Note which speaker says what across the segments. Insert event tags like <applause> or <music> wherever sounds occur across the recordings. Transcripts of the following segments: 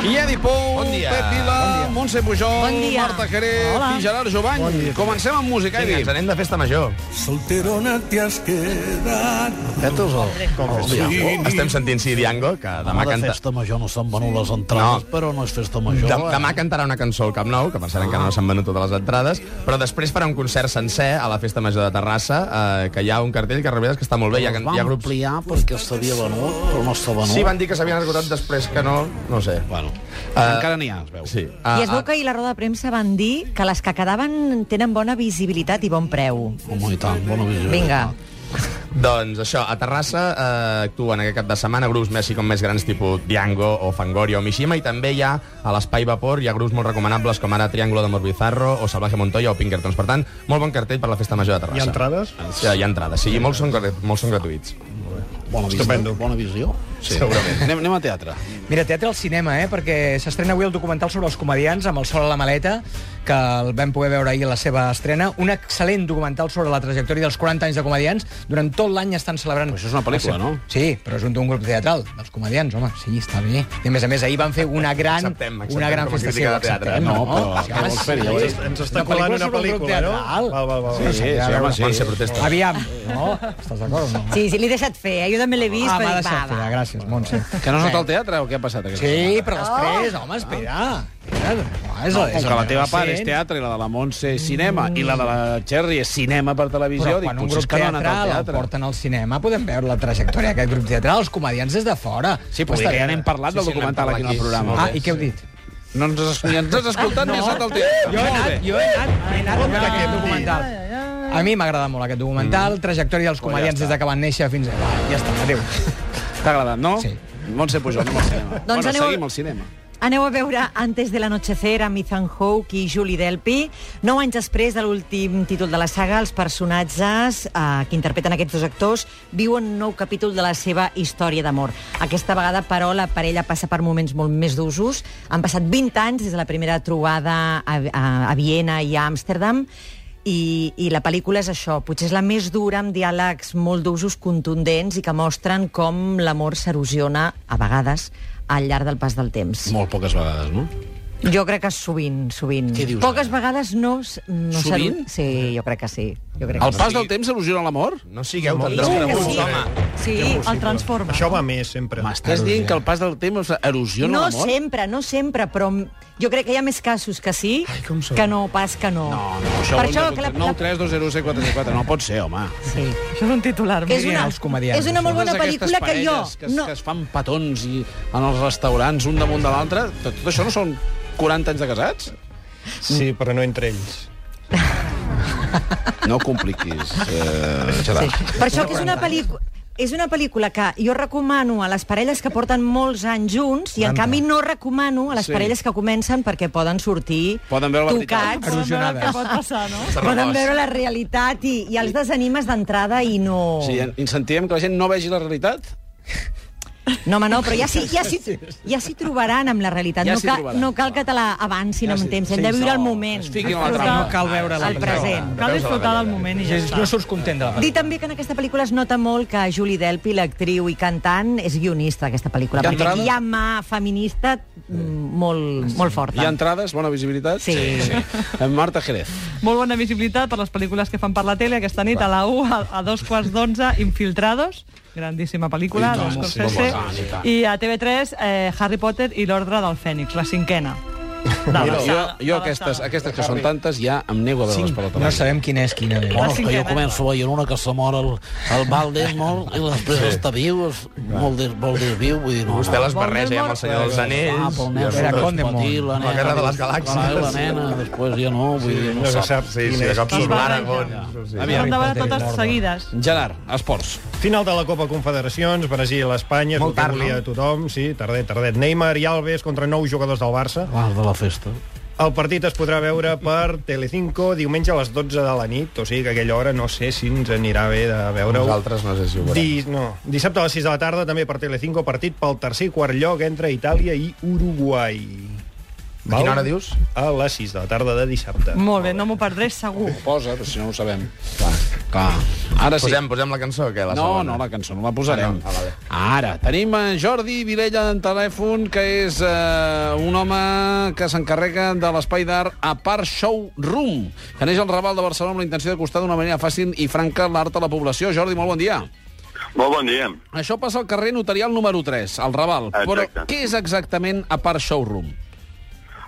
Speaker 1: Iedi Pou,
Speaker 2: Bon dia.
Speaker 1: Pep Vila,
Speaker 2: Bon dia.
Speaker 1: Montse Pujol,
Speaker 3: Bon dia.
Speaker 1: Marta Caré
Speaker 3: Hola.
Speaker 1: i Gerard Jovany.
Speaker 2: Bon dia.
Speaker 1: Comencem amb música,
Speaker 2: Vinga,
Speaker 1: Iedi.
Speaker 2: ens anem de festa major.
Speaker 4: Solterona te has quedat.
Speaker 5: Fetes o... Com
Speaker 2: Oh, estem sentint Siriango, que demà
Speaker 5: Demà de
Speaker 2: canta...
Speaker 5: festa major no s'han venut les entrades,
Speaker 2: No.
Speaker 5: no. però no és festa major.
Speaker 2: De,
Speaker 1: eh?
Speaker 2: demà cantarà una cançó al Camp Nou, que pensarem que no s'han venut totes les entrades, però després farà un concert sencer a la Festa Major de Terrassa, eh, que hi ha un cartell que la veritat és que està molt bé, hi ha,
Speaker 5: Es
Speaker 2: hi
Speaker 5: va
Speaker 2: ha grups...
Speaker 5: ampliar perquè s'havia venut, però no s'ha venut.
Speaker 2: Sí, van dir que s'havien esgotat després que no, no ho sé.
Speaker 1: Bueno,
Speaker 2: Eh,
Speaker 1: encara n'hi ha, es veu.
Speaker 2: Sí.
Speaker 6: Ah,
Speaker 2: Ah,
Speaker 3: I es veu que ahir la roda de premsa van dir que les que quedaven tenen bona visibilitat i bon preu.
Speaker 5: Home, i tant, bona visió.
Speaker 3: Vinga.
Speaker 2: Doncs això, a Terrassa eh, actuen aquest cap de setmana grups més i com més grans tipus Diango o Fangoria o Mishima i també hi ha a l'Espai Vapor hi ha grups molt recomanables com ara Triángulo de Morbizarro o Salvaje Montoya o Pinkertons. Per tant, molt bon cartell per la Festa Major de Terrassa.
Speaker 7: Hi ha entrades?
Speaker 2: Ja, hi ha entrades, sí, i molts són, gra- molts són gratuïts.
Speaker 5: Bona visió.
Speaker 7: Estupendo.
Speaker 5: Bona visió.
Speaker 1: Sí. Segurament. Anem, anem a teatre.
Speaker 6: Mira, teatre al cinema, eh? perquè s'estrena avui el documental sobre els comedians amb el sol a la maleta, que el vam poder veure ahir a la seva estrena. Un excel·lent documental sobre la trajectòria dels 40 anys de comedians. Durant tot l'any estan celebrant...
Speaker 1: Però això és una pel·lícula,
Speaker 6: la
Speaker 1: no?
Speaker 6: Sí, però és un d'un grup teatral, dels comedians, home, sí, està bé. I a més a més, ahir van fer una gran,
Speaker 2: Acceptem, acceptem
Speaker 6: una gran
Speaker 2: com a
Speaker 6: festa
Speaker 2: crítica
Speaker 6: seva.
Speaker 2: de teatre.
Speaker 1: eh?
Speaker 6: Acceptem,
Speaker 1: No, però què
Speaker 6: Sí, home,
Speaker 1: vols fer,
Speaker 6: sí.
Speaker 1: ja ho he dit.
Speaker 7: Ens està colant una
Speaker 6: sobre un grup
Speaker 7: pel·lícula, no?
Speaker 6: teatral.
Speaker 7: Val, val, val.
Speaker 1: Sí, sí, sí, home, sí.
Speaker 2: Quan se protesta.
Speaker 6: Aviam, no? Estàs d'acord o no?
Speaker 3: Sí, sí, l'he deixat fer, eh? jo també l'he vist,
Speaker 6: Ah, m'ha
Speaker 3: però dic,
Speaker 6: deixat
Speaker 3: va,
Speaker 6: fer,
Speaker 3: va.
Speaker 6: gràcies, Montse.
Speaker 1: Que no has anat al teatre o què ha passat? aquesta
Speaker 6: Sí,
Speaker 1: setmana?
Speaker 6: però després, home, espera. espera. Home, és,
Speaker 1: No,
Speaker 6: és
Speaker 1: com que la teva part és
Speaker 6: recent.
Speaker 1: teatre i la de la Montse és cinema i la de la Txerri és cinema per televisió,
Speaker 6: Però
Speaker 1: dic,
Speaker 6: quan un
Speaker 1: potser
Speaker 6: grup
Speaker 1: és que no ha anat al
Speaker 6: teatral el
Speaker 1: teatre.
Speaker 6: porten al cinema podem veure la trajectòria d'aquest grup teatral, els comedians des de fora.
Speaker 1: Sí, però
Speaker 6: Està
Speaker 1: dic que ja
Speaker 6: bé.
Speaker 1: n'hem parlat
Speaker 2: Sí,
Speaker 1: del
Speaker 2: sí, n'hem
Speaker 1: documental
Speaker 2: parlat
Speaker 1: aquí en el
Speaker 2: aquí,
Speaker 1: programa.
Speaker 6: Ah, i què heu dit?
Speaker 1: No ens has, ni ens has escoltat ni has anat al teatre.
Speaker 6: Jo he
Speaker 1: Molt
Speaker 6: anat,
Speaker 1: bé.
Speaker 6: jo he anat, he anat a veure aquest documental. Mm. A mi m'agrada molt aquest documental, trajectòria dels comedians des de que van néixer fins a... Va, Ja està, adéu.
Speaker 1: T'ha agradat, no?
Speaker 6: Sí.
Speaker 1: Montse Pujol, anem al cinema.
Speaker 3: Doncs
Speaker 1: bueno,
Speaker 3: aneu-
Speaker 1: seguim al cinema.
Speaker 3: Aneu a veure Antes de l'anochecer amb Ethan Hawke i Julie Delpy. Nou anys després de l'últim títol de la saga, els personatges eh, que interpreten aquests dos actors viuen un nou capítol de la seva història d'amor. Aquesta vegada, però, la parella passa per moments molt més d'usos. Han passat 20 anys des de la primera trobada a, a, a Viena i a Amsterdam i, I la pel·lícula és això, potser és la més dura, amb diàlegs molt d'usos contundents i que mostren com l'amor s'erosiona, a vegades, al llarg del pas del temps.
Speaker 1: Molt poques vegades, no?
Speaker 3: Jo crec que sovint, sovint.
Speaker 5: Què dius,
Speaker 3: Poques vegades no... s- no s'ha-
Speaker 1: Sovint?
Speaker 3: Sí, jo crec que sí. Jo crec
Speaker 1: El
Speaker 3: que
Speaker 1: pas del temps erosió l'amor?
Speaker 2: No sigueu
Speaker 3: sí.
Speaker 2: tan
Speaker 3: Jo crec
Speaker 2: desconeguts,
Speaker 3: que
Speaker 2: home.
Speaker 3: Sí, sí el transforma.
Speaker 7: Això va més, sempre.
Speaker 1: M'estàs dient que el pas del temps erosiona
Speaker 3: No
Speaker 1: l'amor?
Speaker 3: sempre, no sempre, però m- jo crec que hi ha més casos que sí que no pas que no.
Speaker 1: No, no, això,
Speaker 3: per això que la, la,
Speaker 1: 9 3 2 0 6 4 6 4 no pot ser, home.
Speaker 3: sí.
Speaker 6: Això és un titular.
Speaker 3: És una,
Speaker 6: els comedians.
Speaker 3: és una molt bona
Speaker 1: Totes aquestes
Speaker 3: pel·lícula que jo...
Speaker 1: parelles Que, es-
Speaker 3: no,
Speaker 1: que es fan petons i en els restaurants un damunt de l'altre, tot, tot això no són 40 anys de casats?
Speaker 7: Sí, però no entre ells.
Speaker 1: No compliquis, eh, Gerard.
Speaker 3: Sí. Per això que és una pel·lícula... És una pel·lícula que jo recomano a les parelles que porten molts anys junts i, en canvi, no recomano a les
Speaker 1: Sí.
Speaker 3: parelles que comencen perquè poden sortir
Speaker 1: Poden veure la veritat.
Speaker 3: tocats,
Speaker 6: Erosionada.
Speaker 8: pot passar, no?
Speaker 3: poden veure la realitat i, i els desanimes d'entrada i no...
Speaker 1: O sigui, incentivem que la gent no vegi la realitat?
Speaker 3: No, home, no, però
Speaker 1: <laughs>
Speaker 3: ja s'hi ja s'hi- ja s'hi trobaran amb la realitat.
Speaker 1: Ja
Speaker 3: no,
Speaker 1: s'hi
Speaker 3: cal,
Speaker 1: trobaran,
Speaker 3: no cal que te la avancin
Speaker 1: Ja
Speaker 3: amb
Speaker 1: s'hi-
Speaker 3: temps, hem
Speaker 1: sí,
Speaker 3: de viure
Speaker 1: no,
Speaker 3: el moment.
Speaker 1: es fiquin a la trampa.
Speaker 6: No cal veure la
Speaker 3: El present.
Speaker 8: Cal disfrutar del moment i ja està.
Speaker 6: No surts content de la
Speaker 3: Dir també que en aquesta pel·lícula es nota molt que Julie Delpy, l'actriu i cantant, és guionista d'aquesta
Speaker 1: Hi
Speaker 3: pel·lícula,
Speaker 1: ha
Speaker 3: perquè
Speaker 1: entrada?
Speaker 3: aquí hi ha mà feminista mm, molt, molt
Speaker 1: Hi ha
Speaker 3: forta.
Speaker 1: entrades, bona visibilitat?
Speaker 3: Sí.
Speaker 1: En Marta Jerez.
Speaker 8: Molt bona visibilitat per les pel·lícules que fan per la tele aquesta nit a la 1 a, a dos quarts d'onze, Infiltrados, grandíssima pel·lícula,
Speaker 7: I tant,
Speaker 8: doncs,
Speaker 7: sí,
Speaker 8: Scorsese,
Speaker 1: com a tant,
Speaker 8: i a TV3, eh, Harry Potter i l'Ordre del Fènix, la cinquena. De la
Speaker 1: Mira, jo,
Speaker 8: saga, de
Speaker 1: jo
Speaker 8: la
Speaker 1: aquestes,
Speaker 8: saga.
Speaker 1: aquestes que són tantes ja em nego a veure-les per la
Speaker 6: No
Speaker 1: televisió.
Speaker 6: sabem quina és quina. bé.
Speaker 5: Bueno, és que jo
Speaker 8: cinquena.
Speaker 5: començo veient una que se mor el, el Valdemort i després sí. està viu, és molt, des, molt desviu, vull dir, no.
Speaker 2: Vostè les barreja ja amb el senyor dels
Speaker 5: Ah,
Speaker 2: anells.
Speaker 5: pel nen,
Speaker 2: i
Speaker 6: Era
Speaker 5: després
Speaker 6: Condemon.
Speaker 5: patir, la
Speaker 2: La
Speaker 5: nena,
Speaker 2: guerra de les
Speaker 5: La,
Speaker 2: galàxies.
Speaker 5: la nena, després ja no, vull dir,
Speaker 7: no
Speaker 5: no
Speaker 7: se
Speaker 5: sap.
Speaker 7: sap
Speaker 2: Sí, sí,
Speaker 7: quin
Speaker 2: de
Speaker 7: és
Speaker 2: cop
Speaker 7: qui.
Speaker 2: surt
Speaker 8: barreja.
Speaker 2: l'Aragón. Sí, sí.
Speaker 8: S'han de veure totes seguides.
Speaker 1: Gerard, esports.
Speaker 7: Final de la Copa Confederacions, Brasil, Espanya, és
Speaker 2: Molt
Speaker 7: el que
Speaker 2: tard,
Speaker 7: volia
Speaker 2: no?
Speaker 7: tothom, sí, tardet, tardet. Neymar i Alves contra nou jugadors del Barça.
Speaker 5: Ah, de la festa.
Speaker 7: El partit es podrà veure per Telecinco diumenge a les 12 de la nit, o sigui que a aquella hora no sé si ens anirà bé de veure-ho.
Speaker 2: Nosaltres no sé si ho veurem.
Speaker 7: Di, no, dissabte a les 6 de la tarda també per Telecinco partit pel tercer i quart lloc entre Itàlia i Uruguai.
Speaker 2: A quina hora dius?
Speaker 7: A les 6 de la tarda de dissabte.
Speaker 8: Molt bé, no m'ho perdré segur.
Speaker 1: Posa, però si no ho sabem. Clar. Clar. Ara sí.
Speaker 2: Posem, posem la cançó o què? La
Speaker 1: No,
Speaker 2: segona?
Speaker 1: no, la cançó no la posarem.
Speaker 2: Ah, no. Ah, vale.
Speaker 1: Ara, tenim en Jordi Vilella en telèfon, que és eh, un home que s'encarrega de l'espai d'art a part Showroom, que neix al Raval de Barcelona amb la intenció d'acostar d'una manera fàcil i franca l'art a la població. Jordi, molt bon dia.
Speaker 9: Molt bon dia.
Speaker 1: Això passa al carrer Notarial número 3, al Raval.
Speaker 9: Exacte.
Speaker 1: Però què és exactament a part Showroom?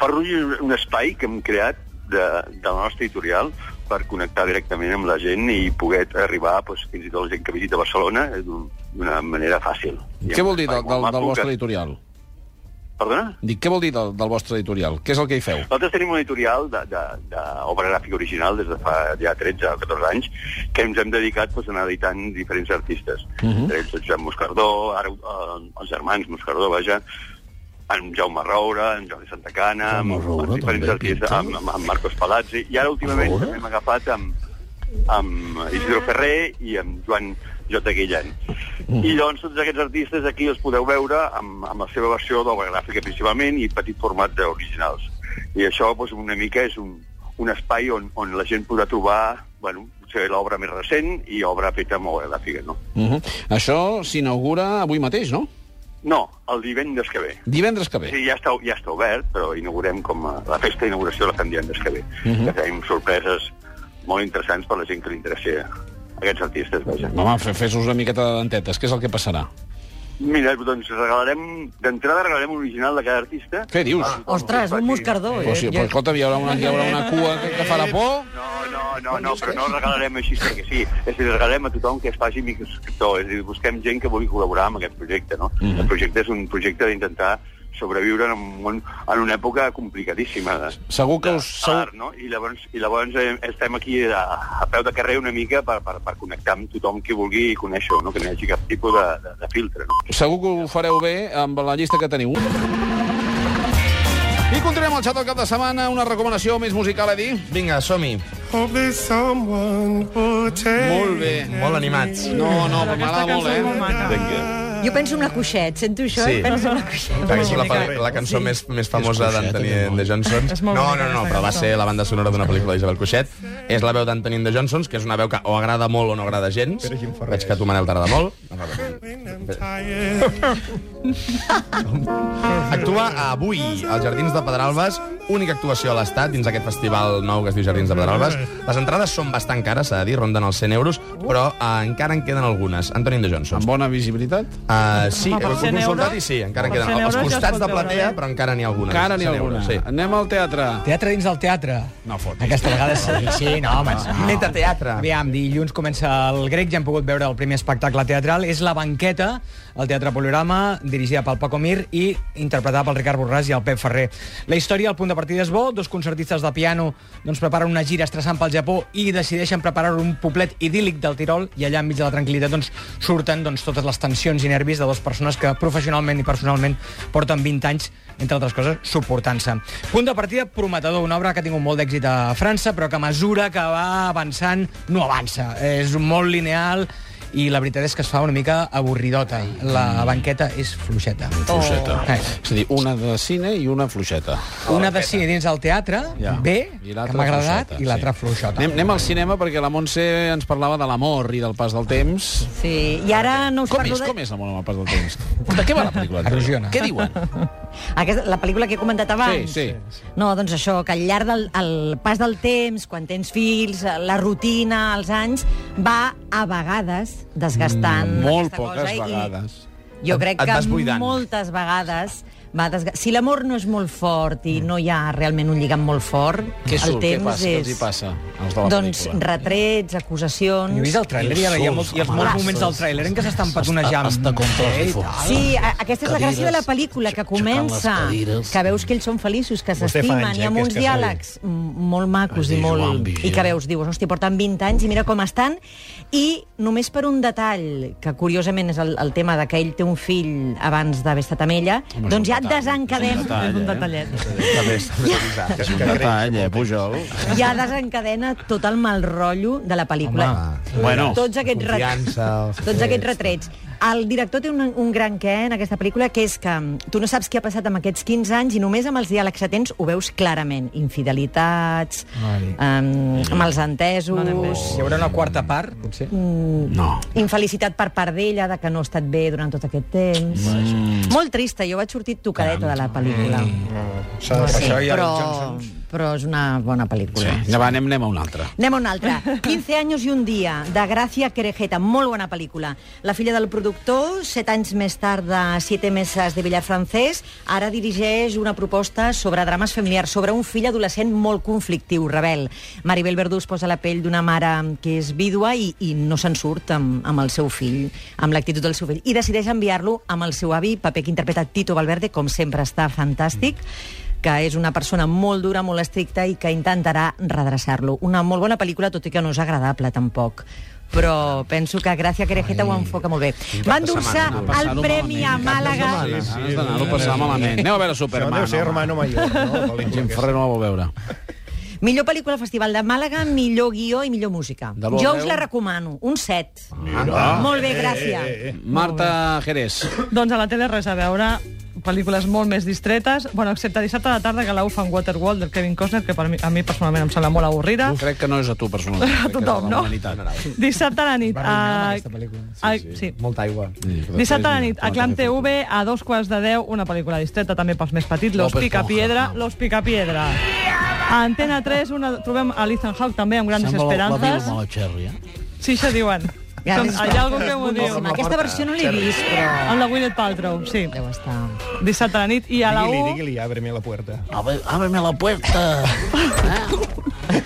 Speaker 9: Per Rull és un espai que hem creat de, de la nostra editorial per connectar directament amb la gent i poder arribar doncs, fins i tot la gent que visita Barcelona eh, d'un- d'una manera fàcil.
Speaker 1: Què vol dir
Speaker 9: Hi ha
Speaker 1: del,
Speaker 9: un espai
Speaker 1: del, del
Speaker 9: molt maco
Speaker 1: vostre
Speaker 9: que-
Speaker 1: editorial?
Speaker 9: Perdona?
Speaker 1: Dic, què vol dir del, del vostre editorial? Què és el que hi feu?
Speaker 9: Nosaltres tenim un editorial d'obra gràfica original des de fa ja 13 o 14 anys que ens hem dedicat pues, a anar editant diferents artistes. Uh
Speaker 5: Mhm.
Speaker 9: -huh. El Josep Moscardó, ara, eh, els germans Moscardó, vaja, en Jaume Roura, en Jordi Santacana,
Speaker 5: Jaume
Speaker 9: amb,
Speaker 5: Roura,
Speaker 9: amb diferents
Speaker 5: també,
Speaker 9: artistes,
Speaker 5: pintor.
Speaker 9: amb, amb, amb Marcos Palazzi, i ara últimament
Speaker 5: Roura?
Speaker 9: també hem agafat amb, amb Isidro Ferrer i amb Joan J. Guillén. I llavors tots aquests artistes aquí els podeu veure amb, amb la seva versió d'obra gràfica principalment i petit format d'originals. I això doncs, una mica és un, un espai on, on la gent podrà trobar bueno, potser l'obra més recent i obra feta amb obra gràfica. No,
Speaker 1: Uh -huh. Això s'inaugura avui mateix, no?
Speaker 9: no el divendres que ve.
Speaker 1: Divendres que ve.
Speaker 9: Sí, ja està, ja està obert, però inaugurem com a, la festa d'inauguració la fem divendres que ve. que tenim sorpreses molt interessants per la gent que li interessi a aquests artistes, vaja.
Speaker 1: Home, fe- fes-nos una miqueta de dentetes. Què és el que passarà?
Speaker 9: Mira, doncs regalarem... D'entrada regalarem un original de cada artista.
Speaker 1: Què dius?
Speaker 9: Ah,
Speaker 3: Ostres, un moscardó, eh?
Speaker 1: Però, si, però escolta, hi haurà una, hi haurà una cua que, que farà por.
Speaker 9: No, no, no, no, però no el regalarem així perquè sí. És a dir, regalarem a tothom que es faci microscriptor. És a dir, busquem gent que vulgui col·laborar amb aquest projecte, no?
Speaker 1: Mhm.
Speaker 9: El projecte és un projecte d'intentar sobreviure en, un món, en una època complicadíssima. De,
Speaker 1: Segur que
Speaker 9: de
Speaker 1: us... Segur...
Speaker 9: art, no? I llavors, i llavors eh, estem aquí a, a peu de carrer una mica per, per, per connectar amb tothom que vulgui conèixer, no? que no hi hagi cap tipus de, de, de filtre. No?
Speaker 1: Segur que ho fareu bé amb la llista que teniu. I continuem el xat del cap de setmana. Una recomanació més musical, Edi.
Speaker 2: Vinga, som-hi.
Speaker 1: Molt bé.
Speaker 2: Molt animats.
Speaker 1: No, no, però
Speaker 8: Aquesta
Speaker 1: m'agrada molt,
Speaker 8: cançó és
Speaker 1: eh?
Speaker 8: molt maca.
Speaker 3: Jo penso en la coixet, sento això
Speaker 2: Sí.
Speaker 3: i penso en la coixet.
Speaker 2: És la,
Speaker 8: bonica,
Speaker 2: pel- la cançó més, més famosa
Speaker 5: És Cuixet,
Speaker 2: d'Anthony
Speaker 5: també, molt.
Speaker 2: de Johnson.
Speaker 8: És
Speaker 2: No,
Speaker 8: molt
Speaker 2: no,
Speaker 8: bonica,
Speaker 2: no,
Speaker 8: aquesta
Speaker 2: però va
Speaker 8: cançó.
Speaker 2: ser la banda sonora d'una pel·lícula d'Isabel Cuixet. És la veu d'Anthony de Johnson, que és una veu que o agrada molt o no agrada gens.
Speaker 7: Pere Gil Ferrer
Speaker 2: Veig que a tu, Manel, t'agrada molt. Actua avui als Jardins de Pedralbes, única actuació a l'estat dins aquest festival nou que es diu Jardins de Pedralbes. Les entrades són bastant cares, s'ha de dir, ronden els 100 euros, però eh, encara en queden algunes. Anthony de Johnson.
Speaker 1: Amb bona visibilitat.
Speaker 2: Uh, sí,
Speaker 8: Home,
Speaker 2: Home,
Speaker 8: per
Speaker 2: he
Speaker 8: 100
Speaker 2: consultat
Speaker 8: euros-
Speaker 2: i sí, encara
Speaker 8: per
Speaker 2: queden
Speaker 8: 100
Speaker 2: als
Speaker 8: euros ja es
Speaker 2: costats
Speaker 8: pot eh?
Speaker 2: de
Speaker 8: veure
Speaker 2: platea,
Speaker 8: bé.
Speaker 2: però encara n'hi ha alguna.
Speaker 1: Encara n'hi ha
Speaker 2: 100 euros,
Speaker 1: alguna.
Speaker 2: Sí.
Speaker 1: Anem al teatre.
Speaker 6: Teatre dins del teatre.
Speaker 1: No fotis.
Speaker 6: Aquesta vegada sí, <laughs> sí, no, home. No.
Speaker 2: Metateatre.
Speaker 6: Aviam, dilluns comença el grec, ja hem pogut veure el primer espectacle teatral. És La banqueta, el teatre poliorama, dirigida pel Paco Mir i interpretada pel Ricard Borràs i el Pep Ferrer. La història al punt de partida és bo, dos concertistes de piano doncs, preparen una gira estressant pel Japó i decideixen preparar un poblet idíl·lic del Tirol i allà enmig de la tranquil·litat doncs, surten doncs, totes les tensions i nervis de dues persones que professionalment i personalment porten 20 anys, entre altres coses, suportant-se. Punt de partida prometedor, una obra que ha tingut molt d'èxit a França, però que a mesura que va avançant no avança. És molt lineal i la veritat és que es fa una mica avorridota. La banqueta és fluixeta.
Speaker 1: Fluixeta.
Speaker 6: Eh.
Speaker 1: És a dir, una de cine i una fluixeta.
Speaker 6: Una de cine dins del teatre,
Speaker 1: Ja.
Speaker 6: bé,
Speaker 1: I
Speaker 6: que
Speaker 1: l'altra
Speaker 6: m'ha agradat,
Speaker 1: fluixeta,
Speaker 6: i l'altra
Speaker 1: sí.
Speaker 6: fluixota.
Speaker 1: Anem, anem al cinema perquè la Montse ens parlava de l'amor i del pas del temps.
Speaker 3: Sí, i ara no us
Speaker 1: Com
Speaker 3: parlo
Speaker 1: és,
Speaker 3: de...
Speaker 1: com és l'amor amb el pas del temps? De què va la pel·lícula? anterior?
Speaker 6: Erosiona.
Speaker 1: Què diuen?
Speaker 3: Aquesta, la pel·lícula que he comentat abans.
Speaker 1: Sí, sí.
Speaker 3: No, doncs això, que al llarg del el pas del temps, quan tens fills, la rutina, els anys, va a vegades desgastant
Speaker 1: Mm, Molt
Speaker 3: aquesta
Speaker 1: poques
Speaker 3: cosa,
Speaker 1: vegades.
Speaker 3: I jo
Speaker 2: Et-
Speaker 3: crec
Speaker 2: et vas
Speaker 3: que
Speaker 2: buidant.
Speaker 3: moltes vegades va desga... Si l'amor no és molt fort i no hi ha realment un lligam molt fort,
Speaker 1: Què
Speaker 3: el
Speaker 1: surt? Què
Speaker 3: temps
Speaker 1: passa? Què
Speaker 3: és...
Speaker 1: els hi passa, als de la
Speaker 3: doncs
Speaker 1: pel·lícula?
Speaker 3: retrets, acusacions...
Speaker 6: Jo he vist el tràiler i hi ha, hi ha, molts, hi ha molts moments del tràiler en què s'estan patonejant.
Speaker 5: Està contra els difunts.
Speaker 3: Sí, a- aquesta és la gràcia de la
Speaker 5: Cadires,
Speaker 3: pel·lícula, que
Speaker 5: aixecant les
Speaker 3: comença,
Speaker 5: cadires.
Speaker 3: que veus que ells són feliços, que
Speaker 7: Vostè fa
Speaker 3: s'estimen,
Speaker 7: anys, eh,
Speaker 3: hi ha
Speaker 7: que és
Speaker 3: molts
Speaker 7: casada.
Speaker 3: diàlegs mm, molt macos
Speaker 5: Ai,
Speaker 3: i
Speaker 5: Joan
Speaker 3: molt...
Speaker 5: Vigil.
Speaker 3: I que veus, dius, hòstia, porten 20 anys i mira com estan. I només per un detall, que curiosament és el, el tema de que ell té un fill abans d'haver estat amb ella,
Speaker 1: Home, és
Speaker 3: doncs
Speaker 1: un eh?
Speaker 3: ja Desencadena.
Speaker 5: És un
Speaker 3: eh?
Speaker 5: detallet.
Speaker 2: També és revisat.
Speaker 1: És un detall, eh, Pujol?
Speaker 3: Ja desencadena tot el mal rotllo de la pel·lícula.
Speaker 1: Bueno,
Speaker 3: tots aquests retrets.
Speaker 2: Confiança...
Speaker 8: Doncs
Speaker 3: Tots aquests retrets. El director té un, un gran què en aquesta pel·lícula, que és que mm, tu no saps què ha passat amb aquests 15 anys i només amb els diàlegs que tens ho veus clarament. Infidelitats,
Speaker 6: Mare.
Speaker 3: um, malentesos...
Speaker 8: No anem bé.
Speaker 6: Hi haurà una quarta part, potser?
Speaker 1: no.
Speaker 3: infelicitat per part d'ella, de que no ha estat bé durant tot aquest temps. Mm. Molt trista, jo vaig sortir tocadeta de la pel·lícula. Mm.
Speaker 7: S'ha
Speaker 3: Sí,
Speaker 7: de passar i
Speaker 3: però,
Speaker 7: el Johnson...
Speaker 3: però és una bona pel·lícula.
Speaker 1: Sí. Ja va, anem, anem a una altra.
Speaker 3: Anem a una altra.
Speaker 1: <laughs>
Speaker 3: 15 anys i un dia, de Gracia Querejeta, molt bona pel·lícula. La filla del productor, 7 anys més tard de 7 meses de Villafrancès, ara dirigeix una proposta sobre drames familiars, sobre un fill adolescent molt conflictiu, rebel. Maribel Verdú es posa la pell d'una mare que és vídua i, i no se'n surt amb, amb el seu fill, amb l'actitud del seu fill, i decideix enviar-lo amb el seu avi, paper que interpreta Tito Valverde, com sempre està fantàstic, que és una persona molt dura, molt estricta i que intentarà redreçar-lo. Una molt bona pel·lícula, tot i que no és agradable tampoc. Però penso que Gràcia Querejeta ho enfoca molt bé. Va endur-se
Speaker 2: setmana,
Speaker 3: el Premi a Màlaga.
Speaker 1: Sí, sí, Has d'anar-ho a passar malament. Anem a veure
Speaker 7: Això
Speaker 1: Superman.
Speaker 7: deu ser hermano mayor,
Speaker 1: <laughs>
Speaker 7: no? La
Speaker 1: home.
Speaker 7: pel·lícula
Speaker 1: Jim Ferrer
Speaker 7: aquesta.
Speaker 1: no la vol veure.
Speaker 3: Millor pel·lícula al Festival de Màlaga, millor guió i millor música.
Speaker 1: De l'u al
Speaker 3: Jo us
Speaker 1: deu?
Speaker 3: la recomano, un set.
Speaker 1: Mira. Eh,
Speaker 3: Molt bé, Gràcia.
Speaker 1: Marta Jerez.
Speaker 8: Doncs a la tele res a veure pel·lícules molt més distretes, bueno, excepte dissabte a la tarda que la fan Waterworld del Kevin Costner, que per mi, a mi personalment em sembla molt avorrida.
Speaker 1: Crec que no és a tu personalment.
Speaker 8: A
Speaker 1: crec que és
Speaker 8: tothom,
Speaker 1: la
Speaker 8: no?
Speaker 1: humanitat.
Speaker 8: Dissabte a la nit...
Speaker 6: arruinar amb
Speaker 8: A...
Speaker 6: aquesta pel·lícula.
Speaker 8: a- sí.
Speaker 2: Molta aigua.
Speaker 8: Dissabte a la nit, a Clam TV, a dos quarts de deu, una pel·lícula distreta també pels més petits, Los
Speaker 1: López
Speaker 8: Picapiedra, Los Picapiedra. A Antena 3 una, trobem a l'Ethan Hawke també amb grans
Speaker 5: Sembla la, la
Speaker 8: esperances.
Speaker 5: Vilma, la Cherry, eh?
Speaker 8: Sí, això diuen.
Speaker 3: Ja,
Speaker 8: Com, hi ha algú que m'ho diu.
Speaker 3: Aquesta versió no l'he vist, però...
Speaker 8: Amb la Gwyneth Paltrow, sí.
Speaker 3: Deu estar...
Speaker 8: Dissabte a la nit i a la
Speaker 7: Digui-li,
Speaker 8: 1...
Speaker 7: digui-li, ábreme la puerta.
Speaker 5: Abre- Ábreme la puerta.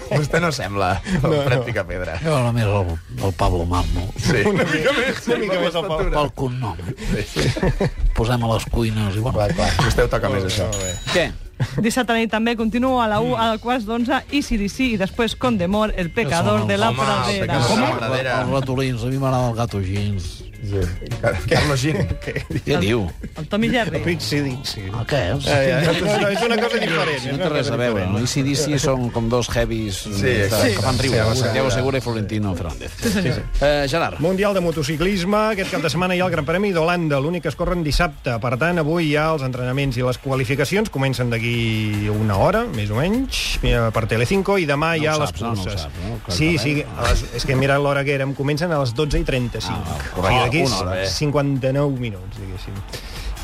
Speaker 2: Vostè no sembla no, pràctica pedra.
Speaker 5: Jo era més el, el Pablo Marmo,
Speaker 2: Sí. Una mica
Speaker 7: Una mica més al pau.
Speaker 5: pel cognom. Posem a les cuines i bueno.
Speaker 2: Clar, clar. Vostè ho toca més, això.
Speaker 1: Què?
Speaker 8: Dissabte a la nit també continuo a la 1, a quarts d'11, i CDC, i després Condemor, el pecador de la
Speaker 2: Home, el
Speaker 8: pradera.
Speaker 2: pecador de la pradera.
Speaker 5: Els ratolins, a mi m'agrada el gato gens.
Speaker 2: Sí. Carlos Gin.
Speaker 1: Què diu?
Speaker 8: El Tommy Jerry.
Speaker 7: Coincidència.
Speaker 5: Ah, què és?
Speaker 2: Eh,
Speaker 7: Ah, ja. No, no, és una cosa diferent.
Speaker 1: Si
Speaker 7: és
Speaker 1: no
Speaker 7: una
Speaker 1: té res
Speaker 7: cosa
Speaker 1: a veure,
Speaker 7: diferent.
Speaker 1: no? I si DC són com dos heavies de-
Speaker 2: sí.
Speaker 1: que fan riure,
Speaker 2: Sí, sí.
Speaker 1: Santiago Segura i Florentino Fernández. Eh, Gerard.
Speaker 7: Mundial de motociclisme, aquest cap de setmana hi ha el Gran Premi d'Holanda, l'únic que es corren dissabte. Per tant, avui ja els entrenaments i les qualificacions comencen d'aquí una hora, més o menys, eh, per Telecinco, i demà hi ha
Speaker 1: ho
Speaker 7: les
Speaker 1: saps, no? No ho
Speaker 7: curses.
Speaker 1: saps, no? Clar,
Speaker 7: Sí,
Speaker 1: clar,
Speaker 7: sí, a les, és que mira l'hora que érem, comencen a les 12 i 35.
Speaker 1: correcte.
Speaker 7: o sigui, d'aquí
Speaker 1: Una hora, eh?
Speaker 7: 59 minuts, diguéssim.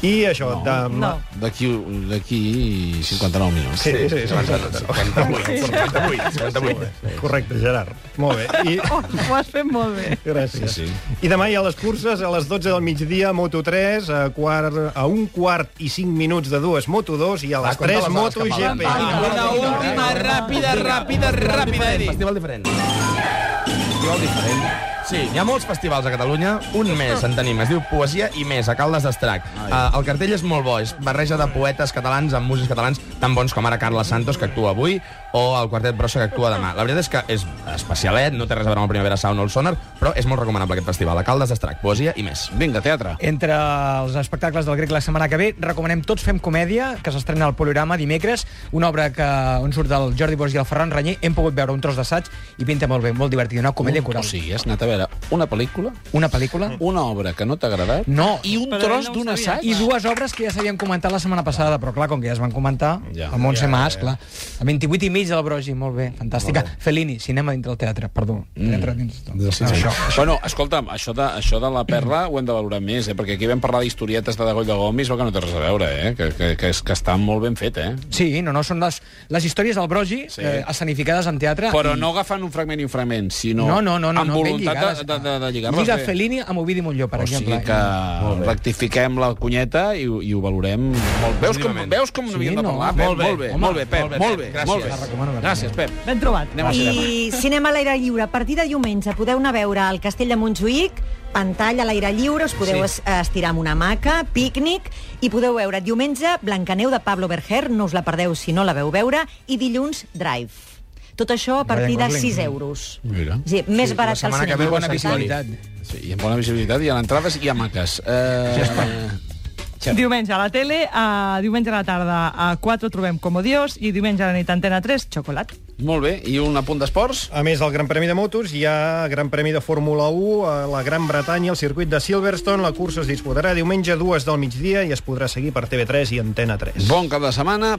Speaker 7: I això, de...
Speaker 8: No.
Speaker 1: D'aquí d'aquí 59 minuts.
Speaker 7: Sí, sí, sí, sí, sí,
Speaker 2: 58. 58. 58.
Speaker 7: correcte, Gerard. Molt bé. I,
Speaker 8: Oh, <laughs> ho has fet molt bé.
Speaker 7: Gràcies.
Speaker 1: Sí, sí.
Speaker 7: Sí, sí. I demà hi ha les curses a les 12 del migdia, Moto3, a, quart, a un quart i 5 minuts de dues Moto2 i a les
Speaker 2: compta
Speaker 7: 3
Speaker 2: les hores que falten.
Speaker 7: MotoGP.
Speaker 2: Ah,
Speaker 1: Una última, ràpida, ràpida, ràpida, Eric.
Speaker 2: Festival diferent. Festival diferent. Sí, hi ha molts festivals a Catalunya, un més en tenim, es diu Poesia i més, a Caldes d'Estrac. Uh, el cartell és molt bo, és barreja de poetes catalans amb músics catalans tan bons com ara Carla Santos, que actua avui, o el quartet Brossa, que actua demà. La veritat és que és especialet, no té res a veure amb el Primavera Sound o el Sonar, però és molt recomanable aquest festival, a Caldes d'Estrac, Poesia i més.
Speaker 1: Vinga, teatre.
Speaker 2: Eh,
Speaker 6: Entre els espectacles del grec la setmana que ve, recomanem Tots fem comèdia, que s'estrena al Polirama dimecres, una obra que on surt el Jordi Bosch i el Ferran Renyer. Hem pogut veure un tros d'assaig i pinta molt bé, molt divertida, una comèdia
Speaker 1: O
Speaker 6: coral.
Speaker 1: sigui, has anat a veure una pel·lícula,
Speaker 6: Una pel·lícula?
Speaker 1: una obra que no t'ha agradat
Speaker 6: No.
Speaker 1: Mm. i un
Speaker 8: Però
Speaker 1: tros
Speaker 8: ell no ho
Speaker 1: d'un
Speaker 8: sabia,
Speaker 1: assaig.
Speaker 6: I dues obres que ja s'havien comentat la setmana passada, però clar, com que ja es van comentar,
Speaker 1: Ja.
Speaker 6: ja, el Montse ja, Mas, clar. A 28 i mig de la Brogi, molt bé, fantàstica. Fellini, cinema dintre el teatre, perdó.
Speaker 1: Mm.
Speaker 6: Teatre dins...
Speaker 1: Sí, sí. Bueno, escolta'm, això de, això de la perla ho hem de valorar més, eh? perquè aquí vam parlar d'historietes de Dagoll de Gomis, però que no té res a veure, eh? que, que, que, és, que està molt ben fet, eh?
Speaker 6: Sí, no, no, són les, les històries del Brogi
Speaker 1: Sí.
Speaker 6: sí. eh, escenificades en teatre.
Speaker 1: Però no agafant un fragment i un fragment, sinó
Speaker 6: no, no, no, no,
Speaker 1: amb
Speaker 6: no, ben
Speaker 1: voluntat
Speaker 6: lligades.
Speaker 1: de, de, de lligar-les
Speaker 6: Lliga
Speaker 1: bé.
Speaker 6: Fellini amb Ovidi Montlló, per
Speaker 1: O sigui
Speaker 6: exemple. eh?
Speaker 1: que rectifiquem la cunyeta i, ho- i ho valorem molt bé. Veus com,
Speaker 2: Positivament.
Speaker 1: veus com no
Speaker 6: Sí,
Speaker 1: havíem de
Speaker 6: no?
Speaker 1: parlar, Pep?
Speaker 6: Molt bé,
Speaker 1: Molt bé,
Speaker 6: home,
Speaker 1: molt bé, Pep, molt bé.
Speaker 2: Gràcies.
Speaker 1: molt
Speaker 2: La
Speaker 6: recomano
Speaker 1: bé.
Speaker 6: verd.
Speaker 1: Gràcies, Pep.
Speaker 8: Ben trobat.
Speaker 1: Anem al cinema.
Speaker 3: I cinema a l'aire lliure. A partir de diumenge podeu anar a veure al Castell de Montjuïc, pantalla a l'aire lliure, us podeu sí. estirar amb una maca, pícnic, i podeu veure diumenge Blancaneu de Pablo Berger, no us la perdeu si no la veu veure, i dilluns Drive. Tot això a partir de
Speaker 6: Gosling.
Speaker 3: 6 euros.
Speaker 1: Mira.
Speaker 3: Sí, més
Speaker 2: Sí,
Speaker 3: barat
Speaker 2: la
Speaker 3: que el
Speaker 2: setmana que
Speaker 3: cinema.
Speaker 2: ve Bona
Speaker 6: Bona
Speaker 3: per tant.
Speaker 6: visibilitat.
Speaker 1: Sí, i amb bona visibilitat, hi ha entrades i hi ha maques. Eh, Xavi.
Speaker 8: Diumenge a la tele, a, diumenge a la tarda a 4 trobem Como Dios i diumenge a la nit a Antena 3, Xocolat.
Speaker 1: Molt bé, i un apunt d'esports?
Speaker 7: A més del Gran Premi de Motos, hi ha Gran Premi de Fórmula 1 a la Gran Bretanya, al circuit de Silverstone. La cursa es disputarà diumenge a dues del migdia i es podrà seguir per TV3 i Antena 3.
Speaker 1: Bon cap de setmana.